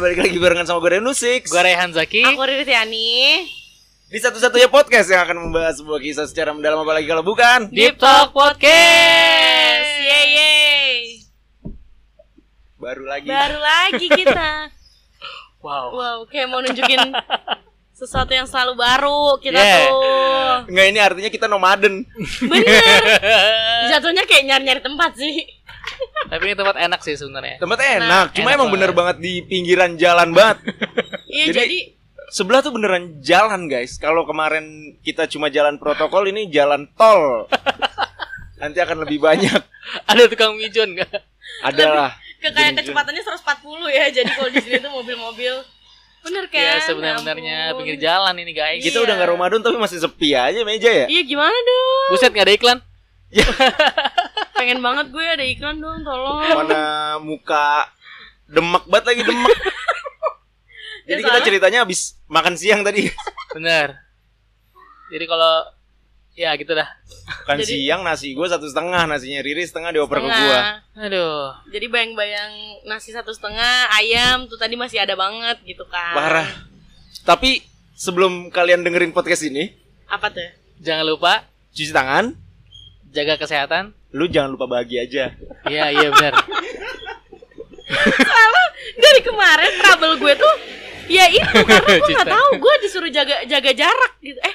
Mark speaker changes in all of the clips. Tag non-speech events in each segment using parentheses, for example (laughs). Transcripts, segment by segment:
Speaker 1: balik lagi barengan sama gue Renu Six
Speaker 2: Gue Rehan Zaki.
Speaker 3: Aku Riri Tiani
Speaker 1: Di satu-satunya podcast yang akan membahas sebuah kisah secara mendalam apalagi kalau bukan
Speaker 2: Deep Talk
Speaker 3: Yes,
Speaker 2: Podcast.
Speaker 3: yeay yeay
Speaker 1: Baru lagi
Speaker 3: Baru lagi kita
Speaker 2: Wow.
Speaker 3: Wow, kayak mau nunjukin sesuatu yang selalu baru kita
Speaker 2: Yeah.
Speaker 3: tuh
Speaker 1: Enggak ini artinya kita nomaden
Speaker 3: Bener Jatuhnya kayak nyari-nyari tempat sih
Speaker 2: (laughs) Tapi ini tempat enak sih sebenarnya.
Speaker 1: Tempat enak, cuma
Speaker 2: enak
Speaker 1: emang bener banget di pinggiran jalan banget
Speaker 3: Iya,
Speaker 1: Jadi-
Speaker 3: jadi,
Speaker 1: Sebelah tuh beneran jalan guys Kalau kemarin kita cuma jalan protokol ini jalan tol Nanti akan lebih banyak
Speaker 2: Ada tukang mijon nggak?
Speaker 1: Adalah
Speaker 3: ke kayak kecepatannya 140 ya Jadi kalau di sini tuh mobil-mobil Bener kan?
Speaker 2: Ya sebenarnya
Speaker 3: Ampun.
Speaker 2: pinggir jalan ini guys. Gitu.
Speaker 1: Kita udah gak Ramadan tapi masih sepi aja meja ya
Speaker 3: Iya gimana dong?
Speaker 2: Buset nggak ada iklan?
Speaker 3: Pengen banget gue ada iklan dong, tolong.
Speaker 1: Mana muka demek banget lagi demek Jadi kita
Speaker 3: Ya, soalnya-
Speaker 1: ceritanya habis makan siang tadi
Speaker 2: Bener. Jadi kalau ya gitu dah.
Speaker 1: Kan
Speaker 3: Jadi-
Speaker 1: siang nasi gue satu setengah nasinya Riri setengah dioper ke gue.
Speaker 3: Setengah.
Speaker 2: Aduh.
Speaker 3: Nah, Jadi bayang-bayang nasi satu setengah, ayam tuh tadi masih ada banget gitu kan.
Speaker 1: Parah. Tapi sebelum kalian dengerin podcast ini,
Speaker 3: Apa tuh?
Speaker 2: Jangan lupa
Speaker 1: cuci tangan.
Speaker 2: jaga kesehatan.
Speaker 1: Lu jangan lupa bahagia aja.
Speaker 2: Iya iya
Speaker 3: (laughs)
Speaker 2: benar.
Speaker 3: Soalnya dari kemarin trouble gue tuh ya itu karena
Speaker 2: (laughs)
Speaker 3: gue nggak
Speaker 2: Cita.
Speaker 3: tahu gue disuruh jaga jaga jarak gitu. Eh,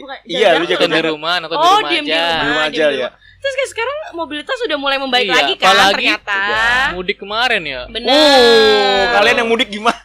Speaker 3: bukan
Speaker 1: I- iya, lu jaga
Speaker 2: Nonton di
Speaker 1: jarak.
Speaker 2: rumah, nonton di
Speaker 3: Oh,
Speaker 2: rumah
Speaker 3: diem di
Speaker 2: aja.
Speaker 1: Di
Speaker 3: rumah,
Speaker 1: rumah
Speaker 3: diem
Speaker 1: aja
Speaker 3: di
Speaker 1: ya.
Speaker 3: rumah. Terus kayak sekarang mobilitas sudah mulai membaik
Speaker 2: Iya,
Speaker 3: lagi kan
Speaker 2: apalagi-
Speaker 3: ternyata.
Speaker 2: Mudik kemarin ya. Uh,
Speaker 3: Bener.
Speaker 1: Oh, kalian yang mudik gimana?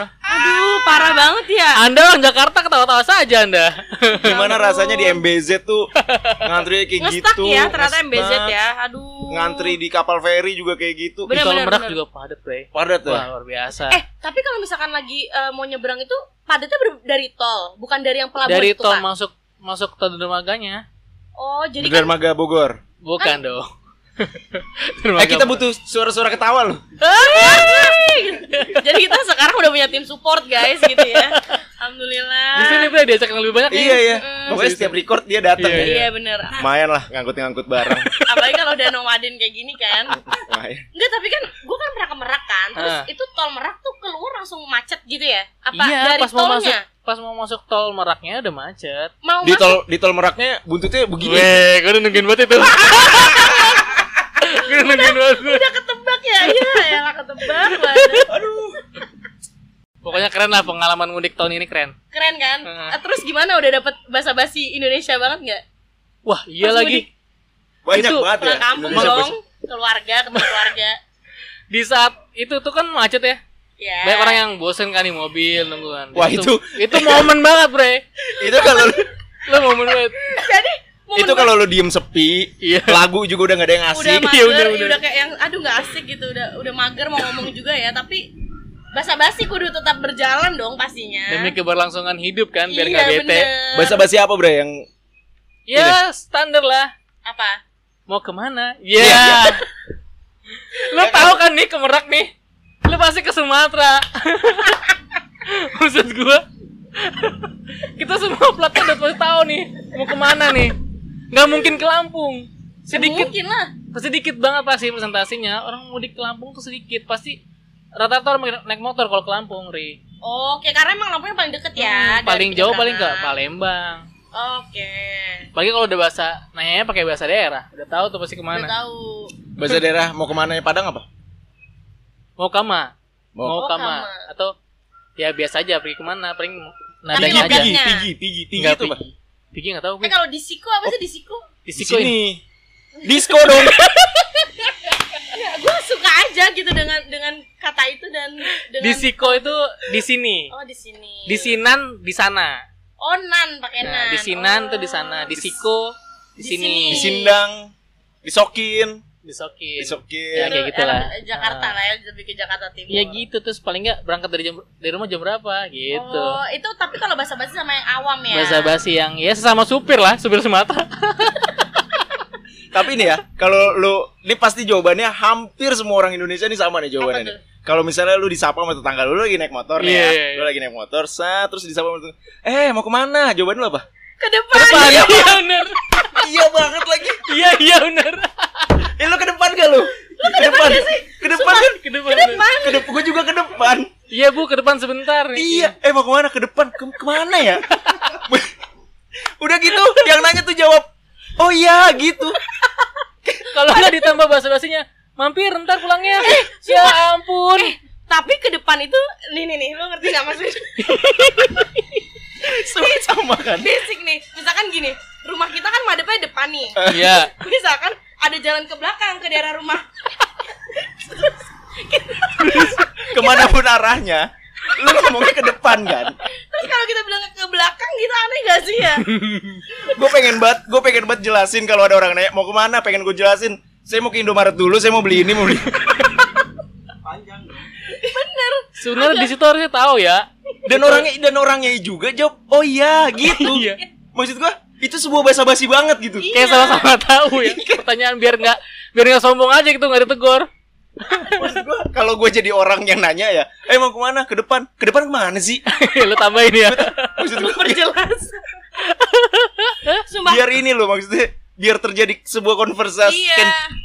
Speaker 3: Aduh, parah banget ya.
Speaker 2: Anda orang Jakarta ketawa-tawa saja Anda. (laughs)
Speaker 1: Gimana
Speaker 3: ampun.
Speaker 1: rasanya di MBZ tuh ngantri kayak
Speaker 3: Ngestak
Speaker 1: gitu.
Speaker 3: ya ternyata
Speaker 1: ngestak.
Speaker 3: MBZ ya. Aduh.
Speaker 1: Ngantri di kapal feri juga kayak gitu.
Speaker 2: Di
Speaker 3: Bener,
Speaker 2: tol
Speaker 3: bener,
Speaker 2: Merak
Speaker 3: bener.
Speaker 2: juga padat, Bre.
Speaker 1: Padat
Speaker 2: Wah,
Speaker 1: ya.
Speaker 2: luar biasa.
Speaker 3: Eh, tapi kalau misalkan lagi eh, mau nyebrang itu padatnya ber- dari tol, bukan dari yang pelabuhan
Speaker 2: Dari
Speaker 3: itu,
Speaker 2: tol
Speaker 3: Pak.
Speaker 2: masuk masuk tol dermaganya.
Speaker 3: Oh, jadi kan
Speaker 1: Dermaga Bogor.
Speaker 2: Bukan (laughs) dong.
Speaker 1: Eh kita butuh suara-suara ketawa loh.
Speaker 3: jadi kita sekarang udah punya tim support, guys, gitu ya. Alhamdulillah.
Speaker 2: Justru nih Bre diajak yang lebih banyak nih.
Speaker 1: Iya ya.
Speaker 3: Mm.
Speaker 1: Pokoknya setiap record dia datang
Speaker 2: Iya,
Speaker 1: ya.
Speaker 3: Iya, bener.
Speaker 1: Lumayan lah ngangkut-ngangkut barang.
Speaker 3: Apalagi kalau udah nomaden kayak gini kan.
Speaker 1: Lumayan.
Speaker 3: Enggak, tapi kan gue kan pernah ke Merak kan. Terus
Speaker 2: Ah.
Speaker 3: itu tol Merak tuh keluar langsung macet gitu ya. Apa
Speaker 2: Iya,
Speaker 3: dari
Speaker 2: pas mau masuk
Speaker 3: tolnya?
Speaker 2: pas mau masuk tol Meraknya udah macet.
Speaker 3: Mau
Speaker 1: (laughs) Di
Speaker 3: masuk
Speaker 1: tol di tol Meraknya buntutnya begini.
Speaker 2: Oh, Weh, gue udah nungguin banget (laughs) itu. gue udah nungguin banget.
Speaker 3: udah ketebak ya. Iya, ya ketebak. banget.
Speaker 1: Aduh.
Speaker 2: Pokoknya keren lah pengalaman mudik tahun ini keren.
Speaker 3: Keren kan?
Speaker 2: Ah.
Speaker 3: Eh, Terus gimana udah dapet basa-basi Indonesia banget nggak?
Speaker 2: Wah, iya
Speaker 3: Pas
Speaker 2: lagi.
Speaker 3: mudik.
Speaker 1: Banyak
Speaker 2: Itu
Speaker 1: banget ya.
Speaker 3: Pulang kampung
Speaker 1: Indonesia
Speaker 3: dong, keluarga, ketemu keluarga.
Speaker 2: Di saat itu tuh kan macet ya.
Speaker 3: Ya.
Speaker 2: Banyak orang yang bosen kan di mobil nungguan.
Speaker 1: Wah,
Speaker 2: itu momen banget, Bre.
Speaker 1: itu kalau
Speaker 2: Lo momen banget.
Speaker 3: Jadi momen
Speaker 1: itu kalau lu diem sepi
Speaker 2: Iya.
Speaker 1: lagu juga udah nggak ada yang
Speaker 3: udah
Speaker 1: asik
Speaker 3: mager,
Speaker 2: (laughs) Iya, udah,
Speaker 3: ya
Speaker 2: udah.
Speaker 3: udah kayak yang aduh nggak asik gitu, udah udah mager mau ngomong juga ya, tapi basa-basi kudu tetap berjalan dong pastinya.
Speaker 2: Demi keberlangsungan hidup kan biar
Speaker 3: kan?
Speaker 2: nggak bete.
Speaker 3: Iya, bener. Iya.
Speaker 1: bahasa basi apa bre yang
Speaker 2: Ya, standar lah.
Speaker 3: apa?
Speaker 2: Mau kemana? Iya. (laughs) Lo tahu kan nih ke Merak nih. Lo pasti ke Sumatera. (laughs) Maksud gua (laughs) kita semua platnya udah pasti tahu nih mau kemana nih. Nggak mungkin ke Lampung. Sedikit
Speaker 3: Mungkin lah.
Speaker 2: sedikit banget pasti presentasinya orang mudik ke Lampung tuh sedikit pasti rata-rata orang naik motor kalau ke Lampung ri
Speaker 3: Oke, karena emang Lampungnya paling deket ya.
Speaker 2: Hmm, paling
Speaker 3: dari
Speaker 2: jauh paling ke
Speaker 3: Tangerang.
Speaker 2: Palembang
Speaker 3: Oke.
Speaker 2: apalagi kalau udah bahasa nanyanya pakai bahasa daerah udah tahu tuh pasti
Speaker 3: Udah
Speaker 2: kemana
Speaker 3: tahu.
Speaker 1: bahasa daerah mau kemana ya Padang apa
Speaker 2: mau kama
Speaker 1: Mau-
Speaker 2: mau,
Speaker 3: kama.
Speaker 2: kama atau ya biasa aja pergi kemana paling
Speaker 3: Tapi
Speaker 2: nadanya aja
Speaker 3: logatnya.
Speaker 1: pigi pigi pigi
Speaker 2: Nggak
Speaker 1: itu pak
Speaker 2: pergi pergi nggak tahu
Speaker 3: Eh
Speaker 2: gue
Speaker 3: kalau di Siko apa
Speaker 2: Oh.
Speaker 3: sih di Siko?
Speaker 2: di
Speaker 1: di
Speaker 2: Siko ini.
Speaker 1: sini disco dong
Speaker 3: Ya, gue suka aja gitu dengan dengan kata itu dan dengan
Speaker 2: di Siko itu di sini
Speaker 3: Oh, di sini.
Speaker 2: di Sinan di sana
Speaker 3: Oh, nan pakai nan.
Speaker 2: nah, di Sinan
Speaker 3: Oh.
Speaker 2: tuh di sana di Siko di
Speaker 3: Di
Speaker 2: sini
Speaker 1: di
Speaker 3: sini.
Speaker 1: sindang disokin
Speaker 2: disokin Ya,
Speaker 3: Itu
Speaker 1: disokin
Speaker 2: kayak gitulah.
Speaker 3: arah Jakarta
Speaker 2: Ah.
Speaker 3: lah ya, lebih ke Jakarta Timur.
Speaker 2: Ya gitu terus paling nggak berangkat dari jam dari rumah jam berapa gitu.
Speaker 3: Oh, itu tapi kalau basa-basi sama yang awam ya.
Speaker 2: Basa-basi yang ya sesama supir lah, supir Sumatera.
Speaker 1: tapi ini ya kalau lu ini pasti jawabannya hampir semua orang Indonesia ini sama nih jawabannya
Speaker 3: Apa
Speaker 1: nih. kalau misalnya lu disapa sama tetangga lu, lu lagi naik motor nih
Speaker 2: Iya,
Speaker 1: ya
Speaker 2: iya, iya.
Speaker 1: lu lagi naik motor sah terus disapa sama tetangga eh mau kemana jawaban lu apa (laughs)
Speaker 3: Ke depan.
Speaker 2: Iya benar.
Speaker 1: iya banget lagi
Speaker 2: Iya iya benar.
Speaker 1: eh lu ke depan gak lu ke depan
Speaker 3: Iya sih.
Speaker 1: ke depan kan
Speaker 2: ke depan. Ke depan.
Speaker 1: ke depan gue juga ke depan
Speaker 2: Iya bu, ke depan sebentar. nih.
Speaker 1: iya eh mau kemana ke depan ke kemana ya (laughs) udah gitu yang nanya tuh jawab oh iya gitu
Speaker 2: Kalau nggak ditambah bahasa basinya, mampir ntar pulangnya. ya ampun.
Speaker 3: Tapi ke depan itu nih nih nih, lu ngerti gak maksudnya?
Speaker 1: Semua sama kan
Speaker 3: Basic nih. Misalkan gini, rumah kita kan madepnya depan nih.
Speaker 2: Iya.
Speaker 3: Misalkan ada jalan ke belakang ke daerah rumah.
Speaker 1: kemanapun arahnya lu ngomongnya ke depan kan
Speaker 3: Terus kalau kita bilang ke belakang gitu aneh gak sih ya?
Speaker 1: gue pengen banget gue pengen banget jelasin kalau ada orang nanya mau kemana pengen gue jelasin saya mau ke Indomaret dulu saya mau beli ini mau beli
Speaker 3: (laughs) Bener.
Speaker 2: Sebenarnya di situ harusnya tahu ya.
Speaker 1: dan orangnya dan orangnya juga jawab oh iya gitu
Speaker 3: (laughs)
Speaker 2: Iya.
Speaker 1: maksud gue itu sebuah basa-basi banget gitu
Speaker 3: Iya.
Speaker 2: Kayak sama-sama tahu ya. Pertanyaan biar nggak biar nggak sombong aja gitu nggak ditegur. (laughs)
Speaker 1: maksud gue Kan kalau gue jadi orang yang nanya ya eh mau kemana ke depan ke depan kemana
Speaker 3: (laughs)
Speaker 1: sih
Speaker 2: Lu tambahin ya.
Speaker 1: maksud
Speaker 3: Lu
Speaker 1: gue
Speaker 3: perjelas. Sumpah.
Speaker 1: biar ini loh maksudnya biar terjadi sebuah konversasi
Speaker 3: Iya.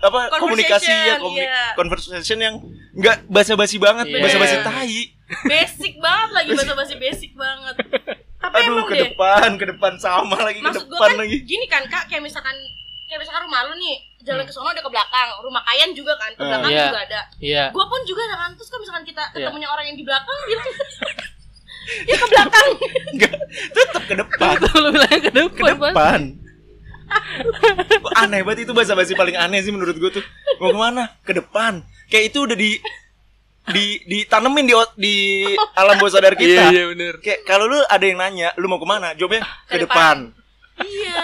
Speaker 1: apa komunikasi ya
Speaker 3: Conversation,
Speaker 1: komunik-
Speaker 3: iya.
Speaker 1: conversation yang nggak basa-basi banget
Speaker 2: Iya.
Speaker 1: basa-basi tai
Speaker 3: Basic banget lagi bahasa basi basic banget. Tapi
Speaker 1: aduh
Speaker 3: emang
Speaker 1: ke
Speaker 3: deh.
Speaker 1: depan ke depan sama lagi ke
Speaker 3: Maksud gue
Speaker 1: depan
Speaker 3: kan
Speaker 1: lagi
Speaker 3: gini kan kak, kayak misalkan kayak misalkan rumah lu nih jalan
Speaker 1: Hmm.
Speaker 3: ke sono ada ke belakang, rumah Kayan juga kan ke
Speaker 1: Eh.
Speaker 3: belakang
Speaker 2: Iya.
Speaker 3: juga ada.
Speaker 2: Iya.
Speaker 3: Gue pun juga kan terus kan misalkan kita
Speaker 2: Iya.
Speaker 3: ketemunya orang yang di belakang (laughs) bilang ya ke belakang.
Speaker 1: Enggak, tetap ke depan.
Speaker 2: Tuh lu bilang ke depan.
Speaker 1: Ke
Speaker 2: Bas.
Speaker 1: depan. Kok aneh banget itu basa-basi paling aneh sih menurut gue tuh. Mau kemana? Ke depan. Kayak itu udah di di ditanemin di ot- di alam bawah sadar
Speaker 2: Iya
Speaker 1: kita.
Speaker 2: iya benar.
Speaker 1: Kayak kalau lu ada yang nanya, lu mau kemana? Jawabnya ke,
Speaker 3: Ke
Speaker 1: depan.
Speaker 3: iya.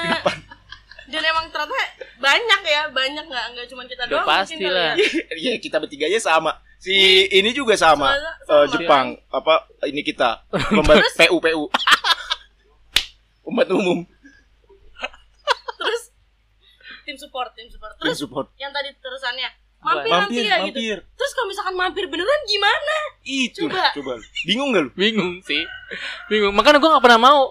Speaker 3: Dan emang ternyata banyak ya, banyak nggak nggak cuma kita
Speaker 2: Udah
Speaker 3: doang. mungkin
Speaker 2: pasti
Speaker 3: kali
Speaker 2: lah.
Speaker 3: ya.
Speaker 1: (laughs) Iya, kita bertiga aja sama. Si ini juga sama.
Speaker 3: Sama-
Speaker 1: Eh,
Speaker 3: sama.
Speaker 1: Jepang apa ini kita pembantu PU (laughs) PU. Umat umum
Speaker 3: Terus tim support, tim support.
Speaker 1: Tim
Speaker 3: Terus
Speaker 1: support.
Speaker 3: yang tadi terusannya mampir,
Speaker 1: Mampir,
Speaker 3: nanti ya
Speaker 1: mampir.
Speaker 3: gitu. Terus kalau misalkan mampir beneran gimana?
Speaker 1: Itu
Speaker 3: Coba.
Speaker 1: coba. Bingung gak lu?
Speaker 2: Bingung sih. Bingung. Makanya gua nggak pernah mau.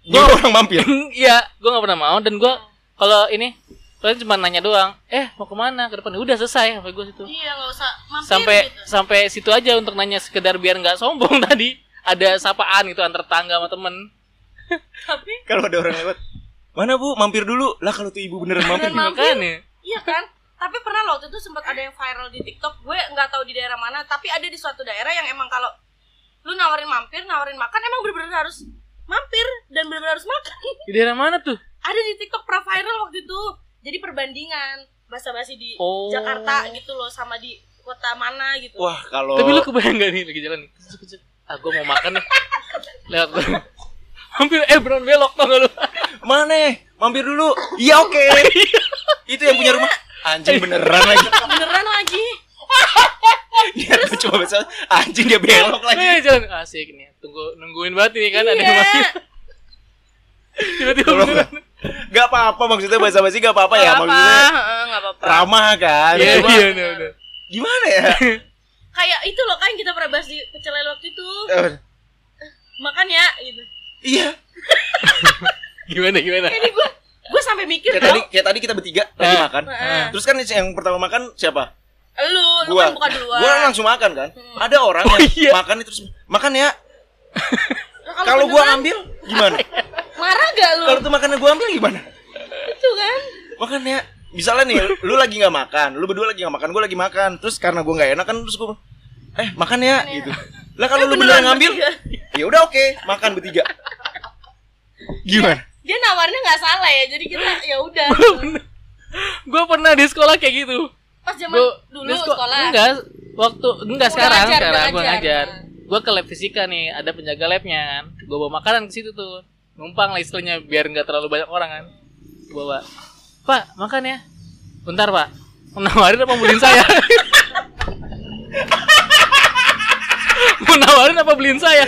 Speaker 2: (laughs)
Speaker 1: Gua orang mampir.
Speaker 2: Iya, gua nggak pernah mau dan gua kalau ini paling cuma nanya doang. Eh mau kemana? Ke depan. Udah selesai sampai gua situ.
Speaker 3: Iya nggak usah mampir
Speaker 2: sampai
Speaker 3: gitu.
Speaker 2: sampai situ aja untuk nanya sekedar biar nggak sombong (laughs) tadi ada sapaan gitu antar tangga sama temen
Speaker 3: Tapi
Speaker 1: kalau ada orang lewat mana bu mampir dulu lah kalau tuh ibu beneran mampir
Speaker 3: Beneran Mampir.
Speaker 2: makanya
Speaker 3: Iya kan? Tapi pernah loh waktu itu sempat ada yang viral di TikTok. Gue nggak tahu di daerah mana, tapi ada di suatu daerah yang emang kalau lu nawarin mampir, nawarin makan emang bener-bener harus mampir dan bener-bener harus makan.
Speaker 2: di daerah mana tuh
Speaker 3: ada di TikTok pra viral waktu itu. Jadi perbandingan basa-basi di
Speaker 2: Oh.
Speaker 3: Jakarta gitu loh sama di kota mana gitu.
Speaker 1: wah kalau
Speaker 2: tapi lu kebayang gak nih lagi jalan nih Kecup, kecup. ah gue mau makan nih lewat gue (laughs) hampir eh beneran belok tau gak lu
Speaker 1: mana ya? mampir dulu iya
Speaker 2: (laughs)
Speaker 1: oke itu yang punya rumah anjing beneran lagi Iya,
Speaker 3: Beneran lagi.
Speaker 1: dia tuh coba besok anjing dia belok lagi
Speaker 2: Eh, jalan asik nih tunggu nungguin banget nih kan ada yang
Speaker 3: Iya.
Speaker 2: mampir tiba-tiba
Speaker 1: Tolong,
Speaker 2: beneran
Speaker 1: nggak apa-apa maksudnya bahasa basi nggak apa-apa ya
Speaker 3: Nggak apa,
Speaker 1: maksudnya
Speaker 3: heeh, nggak apa-apa.
Speaker 1: ramah kan
Speaker 2: iya
Speaker 1: Cuma,
Speaker 2: iya bener, bener.
Speaker 1: gimana
Speaker 2: (laughs)
Speaker 1: ya
Speaker 3: Kayak itu loh kan yang kita pernah bahas di pecelel waktu itu.
Speaker 1: Eh,
Speaker 3: Makan ya gitu.
Speaker 1: iya
Speaker 2: gimana gimana (laughs)
Speaker 3: Ini gue gue sampai mikir
Speaker 1: kayak
Speaker 3: tau.
Speaker 1: tadi kayak tadi kita bertiga lagi
Speaker 2: Eh.
Speaker 1: makan
Speaker 3: Heeh.
Speaker 1: terus kan yang pertama makan siapa
Speaker 3: lu lu
Speaker 1: gua
Speaker 3: Ah. kan bukan duluan Hmm.
Speaker 1: gua langsung makan kan ada orang
Speaker 2: Oh, iya.
Speaker 1: yang makan terus makan ya
Speaker 3: Nah,
Speaker 1: kalau
Speaker 3: gua
Speaker 1: gua
Speaker 3: duluan,
Speaker 1: ambil gimana (laughs)
Speaker 3: marah gak lu
Speaker 1: kalau tuh makannya gua ambil gimana
Speaker 3: itu kan
Speaker 1: Makanya misalnya nih lu lagi nggak makan, lu berdua lagi nggak makan, gue lagi makan. Terus karena gue nggak enak kan terus gue eh makan ya gitu. Lah kalau lu beneran
Speaker 3: beneran
Speaker 1: ngambil,
Speaker 3: bertiga.
Speaker 1: ya udah oke, makan bertiga. Gimana?
Speaker 3: dia nawarnya nggak salah ya jadi kita ya udah
Speaker 2: gue pernah di sekolah kayak gitu
Speaker 3: pas zaman
Speaker 2: Gua-
Speaker 3: dulu
Speaker 2: di seko-
Speaker 3: sekolah
Speaker 2: Enggak, waktu enggak
Speaker 3: Udah
Speaker 2: sekarang,
Speaker 3: ngajar,
Speaker 2: sekarang
Speaker 3: udah
Speaker 2: gue
Speaker 3: ngajar.
Speaker 2: ngajar. Gue ke lab fisika nih, ada penjaga labnya kan. Gue bawa makanan ke situ tuh. Numpang lah istilahnya biar nggak terlalu banyak orang kan. Gua bawa. Pak, makan ya. Bentar, Pak. (laughs) Menawarin apa beliin saya? (laughs) Mau nawarin apa beliin saya? (laughs)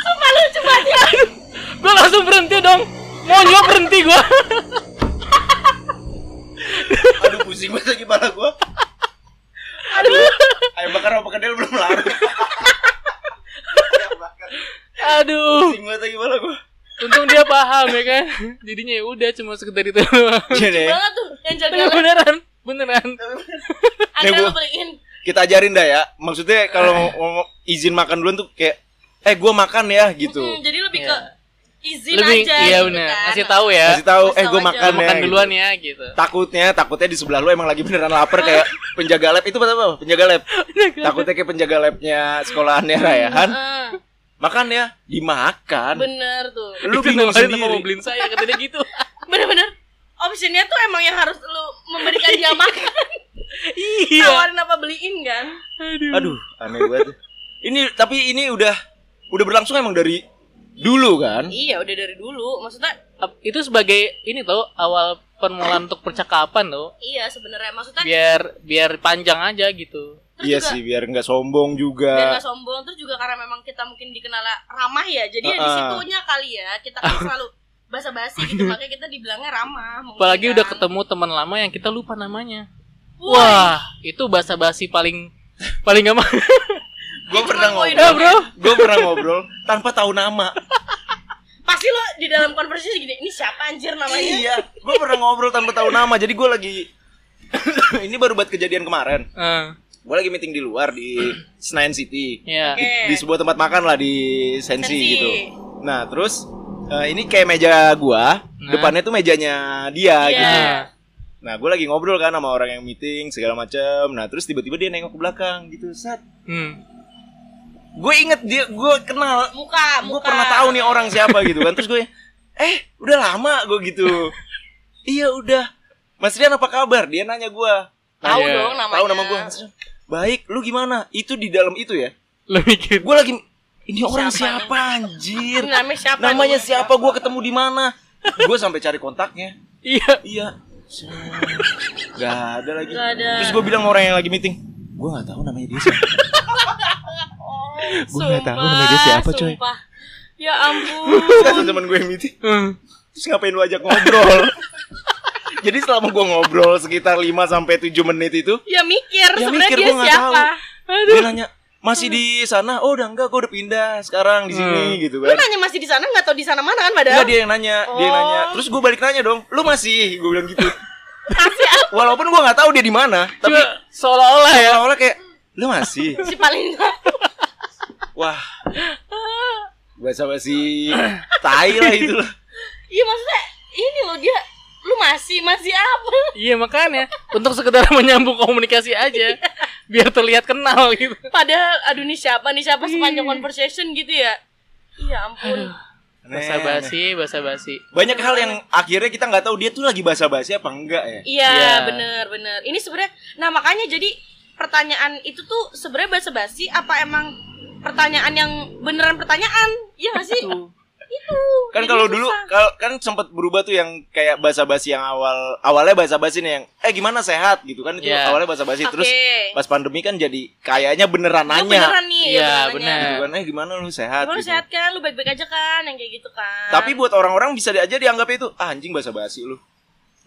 Speaker 3: Sumpah lu cuma dia
Speaker 2: gue langsung berhenti dong. Monyok berhenti gue.
Speaker 1: Iya. Aduh pusing banget lagi kepala gue. Ayam bakar sama kedel belum (laughs) larut. Ayam bakar.
Speaker 2: (laughs) Aduh,
Speaker 1: Pusing banget lagi kepala gue.
Speaker 2: untung dia paham ya kan. Jadinya ya udah cuma sekedar itu doang.
Speaker 1: Iya deh.
Speaker 3: banget tuh yang jaga
Speaker 2: Tapi beneran, beneran
Speaker 3: Ada
Speaker 1: Nih, Bu.
Speaker 3: lu beliin
Speaker 1: kita ajarin dah ya maksudnya
Speaker 2: Eh.
Speaker 1: kalau ngomong izin makan duluan tuh kayak eh gue makan ya gitu
Speaker 3: Mm, Jadi lebih
Speaker 2: Iya.
Speaker 3: ke izin
Speaker 2: lebih
Speaker 3: aja
Speaker 2: iya
Speaker 3: gitu
Speaker 2: benar
Speaker 3: kan.
Speaker 2: kasih tahu ya
Speaker 1: kasih tahu
Speaker 3: Kasih
Speaker 1: eh
Speaker 3: tahu
Speaker 1: gue
Speaker 3: aja.
Speaker 1: makan
Speaker 2: makan
Speaker 1: ya
Speaker 2: duluan ya gitu
Speaker 1: takutnya takutnya di sebelah lu emang lagi beneran lapar
Speaker 3: (laughs)
Speaker 1: kayak penjaga lab itu apa penjaga lab takutnya kayak penjaga labnya sekolahannya Rayahan
Speaker 3: Heeh,
Speaker 1: makan ya dimakan
Speaker 3: Eh, bener tuh
Speaker 1: lu
Speaker 2: Itu
Speaker 1: bingung
Speaker 2: nawarin apa mau
Speaker 1: sendiri
Speaker 2: beliin saya katanya
Speaker 1: (laughs)
Speaker 2: gitu
Speaker 3: Bener-bener Optionnya tuh emang yang harus lu memberikan dia makan
Speaker 2: iya
Speaker 3: Tawarin apa beliin kan
Speaker 2: aduh
Speaker 1: aduh aneh banget ini tapi ini udah udah berlangsung emang dari dulu kan
Speaker 3: Iya udah dari dulu Maksudnya
Speaker 2: Ap- Iya. itu sebagai ini tuh awal permulaan untuk percakapan tuh
Speaker 3: iya sebenarnya Maksudnya
Speaker 2: biar biar panjang aja gitu
Speaker 3: terus
Speaker 1: iya
Speaker 3: juga
Speaker 1: sih biar nggak sombong
Speaker 3: biar
Speaker 1: juga
Speaker 3: gak sombong terus juga karena memang kita mungkin dikenal ramah ya jadi ya
Speaker 1: Heeh.
Speaker 3: disitunya kali ya kita kan selalu basa-basi gitu makanya kita dibilangnya ramah mungkin
Speaker 2: apalagi
Speaker 3: kan.
Speaker 2: udah ketemu teman lama yang kita lupa namanya
Speaker 3: wah
Speaker 2: wah itu bahasa basi paling paling gak
Speaker 3: (laughs)
Speaker 2: mau
Speaker 1: gue pernah
Speaker 3: poin
Speaker 1: ngobrol
Speaker 3: doang ya.
Speaker 1: gue pernah ngobrol tanpa tahu nama
Speaker 3: pasti lo di dalam konversasi gini ini siapa anjir namanya
Speaker 1: iya gue pernah ngobrol tanpa tahu nama jadi gue lagi (coughs) ini baru buat kejadian kemarin
Speaker 2: Eh,
Speaker 1: gue lagi meeting di luar di Senayan City
Speaker 2: ya
Speaker 1: di, di sebuah tempat makan lah di Sensi,
Speaker 3: Iya. Sensi.
Speaker 1: gitu nah terus eh, ini kayak meja gua
Speaker 2: Nah.
Speaker 1: depannya tuh mejanya dia
Speaker 3: Iya.
Speaker 1: gitu
Speaker 2: Nah,
Speaker 1: nah gue lagi ngobrol kan sama orang yang meeting segala macam nah terus tiba-tiba dia nengok ke belakang gitu set
Speaker 2: hmm.
Speaker 1: gue inget dia gue kenal
Speaker 3: muka muka
Speaker 1: gue pernah tahu nih orang siapa gitu kan terus gue eh udah lama gue gitu iya udah Mas Rian apa kabar dia nanya gue
Speaker 3: tahu
Speaker 2: Iya.
Speaker 3: dong namanya
Speaker 1: tahu nama gue Mas Rian baik lu gimana itu di dalam itu ya
Speaker 2: lo mikir
Speaker 1: gue lagi ini orang
Speaker 3: Siapa
Speaker 1: siapa, anjir
Speaker 3: Ini namanya siapa
Speaker 1: namanya
Speaker 3: nih?
Speaker 1: siapa gue ketemu di mana gue sampai cari kontaknya
Speaker 2: iya
Speaker 1: iya Gak ada lagi
Speaker 3: Nggak ada.
Speaker 1: terus gue bilang sama orang yang lagi meeting gue gak tahu namanya dia
Speaker 3: (laughs)
Speaker 1: siapa Gua nggak tahu namanya dia siapa,
Speaker 3: Sumpah,
Speaker 1: coy.
Speaker 3: sumpah. ya ampun
Speaker 1: Terus temen gue yang meeting
Speaker 2: Hmm.
Speaker 1: Terus ngapain lu ajak ngobrol? (laughs) Jadi selama gua ngobrol sekitar 5 sampai 7 menit itu,
Speaker 3: ya mikir
Speaker 1: ya
Speaker 3: sebenarnya
Speaker 1: mikir
Speaker 3: dia
Speaker 1: gua nggak tahu.
Speaker 3: siapa
Speaker 1: Dia nanya, "Masih di sana?" "Oh, udah enggak, gua udah pindah sekarang di sini." gitu
Speaker 3: lu
Speaker 1: kan.
Speaker 3: nanya masih di sana nggak tahu di sana mana kan padahal
Speaker 1: Enggak dia yang nanya, dia yang
Speaker 3: Oh.
Speaker 1: nanya. Terus gua balik nanya dong, "Lu masih?" Gua bilang
Speaker 3: (laughs)
Speaker 1: gitu. Walaupun gua nggak tahu dia di mana, tapi
Speaker 2: Cuma seolah-olah ya
Speaker 1: seolah-olah kayak, "Lu masih?"
Speaker 3: si paling (laughs) tahu
Speaker 1: Wah. Bahasa basi tai lah
Speaker 3: (laughs)
Speaker 1: itu lah.
Speaker 3: Iya maksudnya ini loh dia lu masih masih apa?
Speaker 2: iya makanya untuk sekedar (laughs) menyambung komunikasi aja biar terlihat kenal gitu
Speaker 3: Padahal aduh nih siapa nih siapa sepanjang conversation gitu ya. Iya ampun.
Speaker 2: bahasa
Speaker 1: Aneh, aneh.
Speaker 2: basi bahasa basi
Speaker 1: Banyak hal yang akhirnya kita nggak tahu dia tuh lagi bahasa basi apa enggak ya.
Speaker 3: Iya
Speaker 2: Iya.
Speaker 3: bener bener. Ini sebenarnya nah makanya jadi pertanyaan itu tuh sebenarnya bahasa basi apa emang pertanyaan yang beneran pertanyaan? Iya gak sih?
Speaker 2: Tuh.
Speaker 3: itu.
Speaker 1: kan
Speaker 3: Jadi
Speaker 1: kalau dulu
Speaker 3: susah.
Speaker 1: kalau kan sempat berubah tuh yang kayak basa-basi yang awal awalnya basa-basi nih yang eh gimana sehat gitu kan itu
Speaker 2: Iya.
Speaker 1: awalnya basa-basi terus
Speaker 3: Oke.
Speaker 1: pas pandemi kan jadi kayaknya beneran nanya
Speaker 3: Lu beneran nih
Speaker 2: Iya,
Speaker 3: beneran
Speaker 2: bener.
Speaker 3: nanya.
Speaker 1: Gitu kan, eh gimana lu sehat
Speaker 3: Lu
Speaker 1: gitu.
Speaker 3: sehat kan? Lu baik-baik aja kan? Yang kayak gitu kan.
Speaker 1: tapi buat orang-orang bisa aja dianggapnya itu ah, anjing basa-basi lu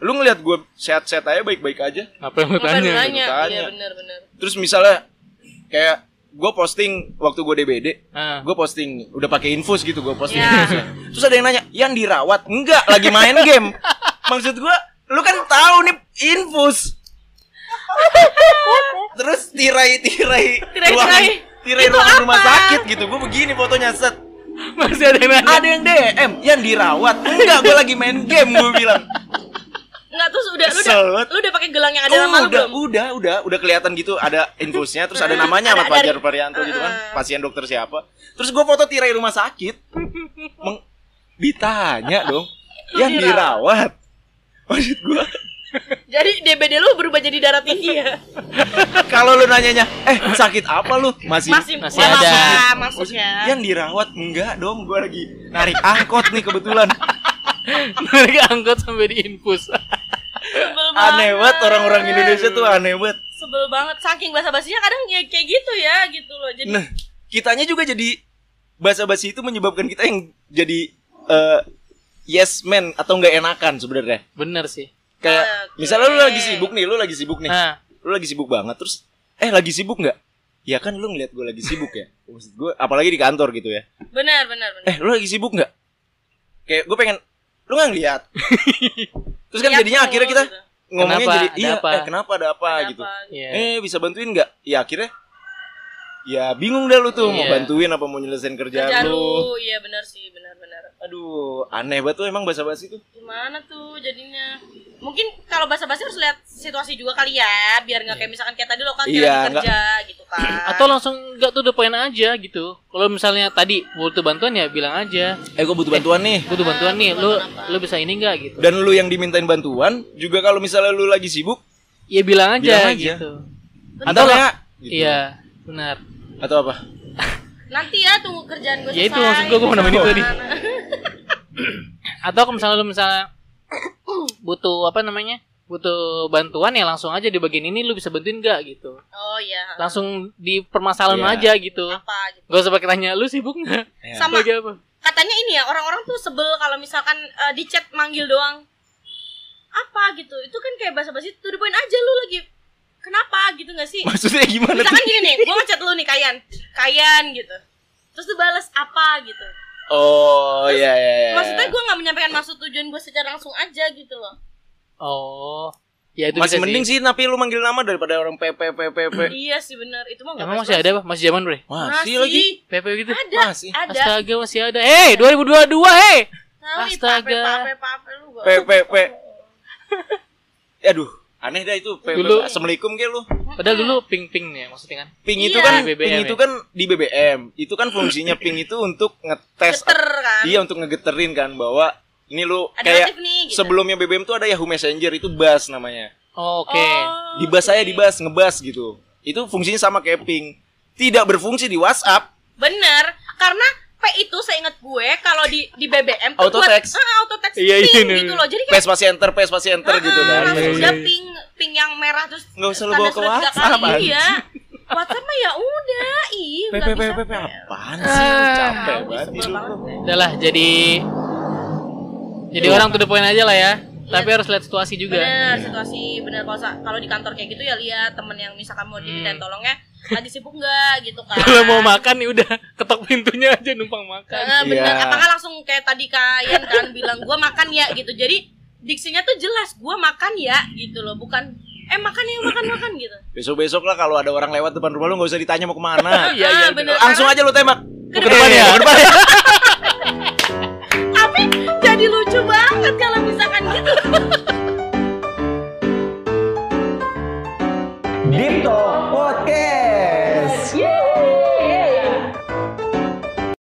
Speaker 1: lu ngelihat gue sehat-sehat aja baik-baik aja
Speaker 2: apa yang lu
Speaker 3: Ngapain lu
Speaker 2: tanya
Speaker 3: nanya?
Speaker 1: Tanya.
Speaker 3: Iya bener bener.
Speaker 1: terus misalnya kayak gue posting waktu gue DBD
Speaker 2: Ah.
Speaker 1: gue posting udah pakai infus gitu gue posting
Speaker 3: Iya.
Speaker 1: infusnya. terus ada yang nanya yang dirawat enggak lagi main game maksud gue lu kan tahu nih infus terus tirai-tirai
Speaker 3: Tirai-tirai.
Speaker 1: ruangan- tirai
Speaker 3: Itu
Speaker 1: ruangan
Speaker 3: apa?
Speaker 1: rumah sakit gitu gue begini fotonya set
Speaker 2: masih ada yang nanya
Speaker 1: ada yang DM yang dirawat enggak gue lagi main game gue bilang
Speaker 3: Enggak terus udah lu udah
Speaker 1: Kesel banget.
Speaker 3: lu udah pakai gelang yang ada
Speaker 1: Oh,
Speaker 3: nama lu
Speaker 1: udah,
Speaker 3: belum?
Speaker 1: udah, udah, udah kelihatan gitu ada infusnya, terus ada
Speaker 3: Heeh,
Speaker 1: namanya
Speaker 3: (laughs) ada-
Speaker 1: Ahmad
Speaker 3: ada-
Speaker 1: Fajar Parianto gitu kan, pasien dokter siapa. Terus gue foto tirai rumah sakit, Meng- ditanya dong,
Speaker 3: Lu
Speaker 1: yang
Speaker 3: dirawat.
Speaker 1: dirawat. Maksud gue,
Speaker 3: Jadi DBD lu berubah jadi darah tinggi ya?
Speaker 1: (laughs) kalau lu nanyanya, eh sakit apa lu? Masih, Iya
Speaker 3: Masih, Iya.
Speaker 2: masih
Speaker 3: malah
Speaker 2: ada.
Speaker 3: lah,
Speaker 1: Maksud-
Speaker 3: Maksudnya
Speaker 1: yang dirawat enggak dong, gue lagi narik angkot nih
Speaker 3: (laughs)
Speaker 1: kebetulan.
Speaker 2: mereka angkot sampai diinfus
Speaker 3: sebel
Speaker 1: Aneh banget orang-orang Indonesia tuh aneh banget.
Speaker 3: Sebel banget saking bahasa basinya kadang ya kayak gitu ya gitu loh. Jadi
Speaker 1: Nah, kitanya juga jadi basa-basi itu menyebabkan kita yang jadi eh, yes man atau nggak enakan sebenarnya.
Speaker 2: (laughs) bener sih
Speaker 1: Kayak
Speaker 3: Ah, Oke. Ah.
Speaker 1: misalnya lu lagi sibuk nih, lu lagi sibuk nih.
Speaker 2: nah
Speaker 1: Lu lagi sibuk banget terus eh lagi sibuk nggak? Ya kan lu ngeliat gue lagi sibuk
Speaker 3: (laughs)
Speaker 1: ya. Maksud gue apalagi di kantor gitu ya.
Speaker 3: benar benar benar.
Speaker 1: Eh, lu lagi sibuk nggak?
Speaker 3: (laughs)
Speaker 1: Kayak gue pengen lu nggak ngeliat. terus kan
Speaker 3: Lihat
Speaker 1: jadinya
Speaker 3: mulu
Speaker 1: akhirnya kita
Speaker 3: Iya, gitu.
Speaker 1: ngomongnya
Speaker 2: Kenapa?
Speaker 1: jadi
Speaker 2: Ada
Speaker 1: iya
Speaker 2: apa?"
Speaker 1: eh kenapa ada apa
Speaker 3: Ada
Speaker 1: gitu
Speaker 3: apa?
Speaker 2: Iya.
Speaker 1: eh bisa bantuin nggak ya akhirnya ya bingung dah lu tuh mau
Speaker 2: Iya.
Speaker 1: bantuin apa mau nyelesain kerjaan
Speaker 3: Kerja
Speaker 1: lu
Speaker 3: lu, iya benar sih, benar-benar.
Speaker 1: aduh aneh banget tuh emang bahasa basi tuh
Speaker 3: Gimana tuh jadinya? Mungkin kalau bahasa basi harus lihat situasi juga kali ya, biar nggak kayak misalkan kayak tadi lo kan dia
Speaker 1: Iya,
Speaker 3: lagi kerja gitu kan.
Speaker 2: Iya. (clears throat) Atau langsung nggak tuh the point aja gitu. Kalau misalnya tadi butuh bantuan ya bilang aja.
Speaker 1: eh gue butuh bantuan nih
Speaker 2: Butuh bantuan nih, lu lu bisa ini nggak gitu.
Speaker 1: dan lu yang dimintain bantuan juga kalau misalnya lu lagi sibuk
Speaker 2: Ya bilang aja,
Speaker 1: Bilang aja.
Speaker 2: gitu.
Speaker 1: atau
Speaker 2: lah-
Speaker 1: ya gitu.
Speaker 2: Iya, benar.
Speaker 1: atau apa
Speaker 3: nanti ya tunggu kerjaan gitu. gue
Speaker 2: Ya itu maksud gua, gua mau nemenin itu tadi.
Speaker 3: Gimana?
Speaker 2: Atau kalau misalnya lu misalnya butuh apa namanya? Butuh bantuan ya langsung aja di bagian ini lu bisa bantuin nggak gitu.
Speaker 3: Oh iya.
Speaker 2: Langsung di permasalahan
Speaker 1: Iya.
Speaker 2: aja gitu.
Speaker 3: Apa gitu.
Speaker 2: Gak usah pakai tanya lu sibuk nggak?
Speaker 1: Ya.
Speaker 3: Sama
Speaker 2: Lagi apa?
Speaker 3: katanya ini ya orang-orang tuh sebel kalau misalkan eh, di chat manggil doang. Apa gitu? Itu kan kayak basa-basi to the point aja lu lagi. Kenapa gitu gak
Speaker 2: (laughs)
Speaker 3: sih?
Speaker 1: maksudnya gimana tuh
Speaker 3: Misalkan gini nih, gue ngechat lu nih Kayan. Kayan gitu. Terus tuh balas apa gitu.
Speaker 1: oh iya iya
Speaker 2: Eh.
Speaker 1: iya
Speaker 3: Maksudnya gue gak menyampaikan maksud tujuan gue secara langsung aja gitu loh.
Speaker 2: Oh. Ya itu
Speaker 1: masih
Speaker 2: bisa
Speaker 1: mending
Speaker 2: sih.
Speaker 1: sih. tapi lu manggil nama daripada orang PPPPP
Speaker 3: Iya sih bener, itu mah gak
Speaker 2: Emang masih ada apa? Masih zaman, Bre?
Speaker 1: masih lagi
Speaker 2: PP gitu.
Speaker 3: Ada,
Speaker 1: Masih.
Speaker 3: ada.
Speaker 2: Astaga masih ada. Hey, 2022, hey.
Speaker 3: Tahu nih,
Speaker 2: Astaga.
Speaker 3: pape, pape, pape, lu gua-
Speaker 1: PPP Eh, aduh aneh dah itu PPP
Speaker 2: Dulu-
Speaker 1: assalamualaikum kayak lu
Speaker 2: Padahal dulu ping-ping nih maksudnya kan.
Speaker 1: ping itu
Speaker 3: Iya.
Speaker 1: kan
Speaker 2: Di BBM
Speaker 1: ping
Speaker 2: ya?
Speaker 1: itu kan di BBM itu kan fungsinya ping itu untuk ngetes
Speaker 3: Geter kan.
Speaker 1: iya untuk ngegeterin kan bahwa ini lu
Speaker 3: Ada
Speaker 1: kayak
Speaker 3: notif nih, gitu.
Speaker 1: sebelumnya BBM tuh ada Yahoo Messenger itu buzz namanya
Speaker 2: Oke.
Speaker 3: Oh,
Speaker 1: di buzz
Speaker 3: oke.
Speaker 1: saya di buzz ngebuzz gitu itu fungsinya sama kayak ping tidak berfungsi di WhatsApp
Speaker 3: Bener, karena P itu seingat gue kalau di di BBM tuh
Speaker 1: Auto
Speaker 3: buat-
Speaker 1: text.
Speaker 3: Ah, auto text
Speaker 2: Iya,
Speaker 3: ping
Speaker 2: iya, iya.
Speaker 3: gitu loh. Jadi kayak
Speaker 1: PS pasti enter PS pasti enter gitu
Speaker 3: ah,
Speaker 1: kan
Speaker 3: langsung
Speaker 2: Iya,
Speaker 3: udah
Speaker 2: iya.
Speaker 3: ping ping yang merah terus
Speaker 1: Nggak usah lu
Speaker 3: tanda
Speaker 1: bawa ke
Speaker 3: seru tiga
Speaker 1: WhatsApp,
Speaker 3: kali,
Speaker 1: anjing.
Speaker 3: Iya. WhatsApp mah ya udah, iya
Speaker 1: PPP
Speaker 3: nggak bisa.
Speaker 1: PPP apaan sih lu
Speaker 2: Ah.
Speaker 1: capek
Speaker 3: Tahu,
Speaker 1: banget
Speaker 3: sebel
Speaker 1: hidup
Speaker 3: banget
Speaker 1: lu.
Speaker 3: gue.
Speaker 2: Udah lah jadi jadi
Speaker 1: Iya.
Speaker 2: orang to the point aja lah ya. Tapi harus lihat situasi juga. Iya.
Speaker 3: Bener, situasi bener kalau sa- kalau di kantor kayak gitu ya lihat temen yang misalkan mau dimintain tolongnya lagi sibuk nggak gitu
Speaker 2: (laughs) (laughs)
Speaker 3: kan.
Speaker 2: Kalau Hmm. mau makan nih udah ketok pintunya aja numpang makan.
Speaker 3: Eh, bener,
Speaker 1: Iya.
Speaker 3: apakah langsung kayak tadi kalian kan bilang gua makan ya gitu. Jadi diksinya tuh jelas gua makan ya gitu loh, bukan eh makan ya makan makan gitu.
Speaker 1: besok-besok lah kalau ada orang lewat depan rumah lu nggak usah ditanya mau kemana
Speaker 3: (laughs)
Speaker 2: Iya, iya,
Speaker 3: Ah, bener.
Speaker 1: langsung aja lu tembak Mau ke depan ya
Speaker 2: Iya.
Speaker 1: Mau ke depan
Speaker 3: gitu.